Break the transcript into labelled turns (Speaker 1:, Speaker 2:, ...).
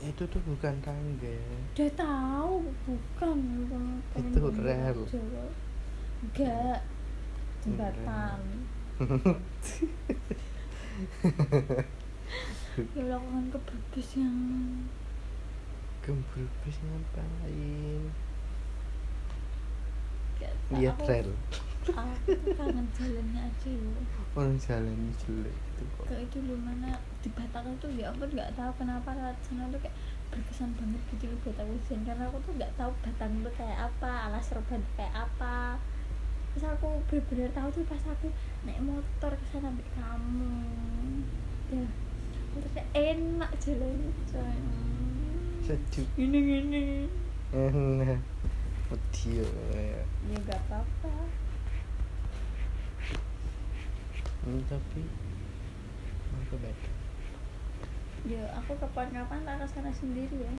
Speaker 1: itu tuh bukan tangga ya
Speaker 2: Udah tahu bukan bukan pengen
Speaker 1: Itu
Speaker 2: ngomong
Speaker 1: rel.
Speaker 2: aja. Enggak. Jembatan. ya Allah, aku kan keberbis yang
Speaker 1: gembul bis ngapain
Speaker 2: Nggak
Speaker 1: lihat
Speaker 2: tahu.
Speaker 1: Iya, rel
Speaker 2: Aku tuh kangen jalannya aja loh.
Speaker 1: orang jalannya jelek itu kok
Speaker 2: Kayak itu loh mana di Batam tuh ya aku nggak tahu kenapa lewat sana tuh kayak berkesan banget gitu loh buat aku Zen. karena aku tuh nggak tahu Batam tuh kayak apa alas serban kayak apa terus aku bener-bener tahu tuh pas aku naik motor ke sana sampai kamu ya aku tuh kayak enak jalannya coy
Speaker 1: sejuk
Speaker 2: ini ini
Speaker 1: enak Wadio, Eh, ya.
Speaker 2: ya nggak apa-apa
Speaker 1: Hmm, tapi mau ke Batam.
Speaker 2: ya aku kapan-kapan tak ke sana sendiri ya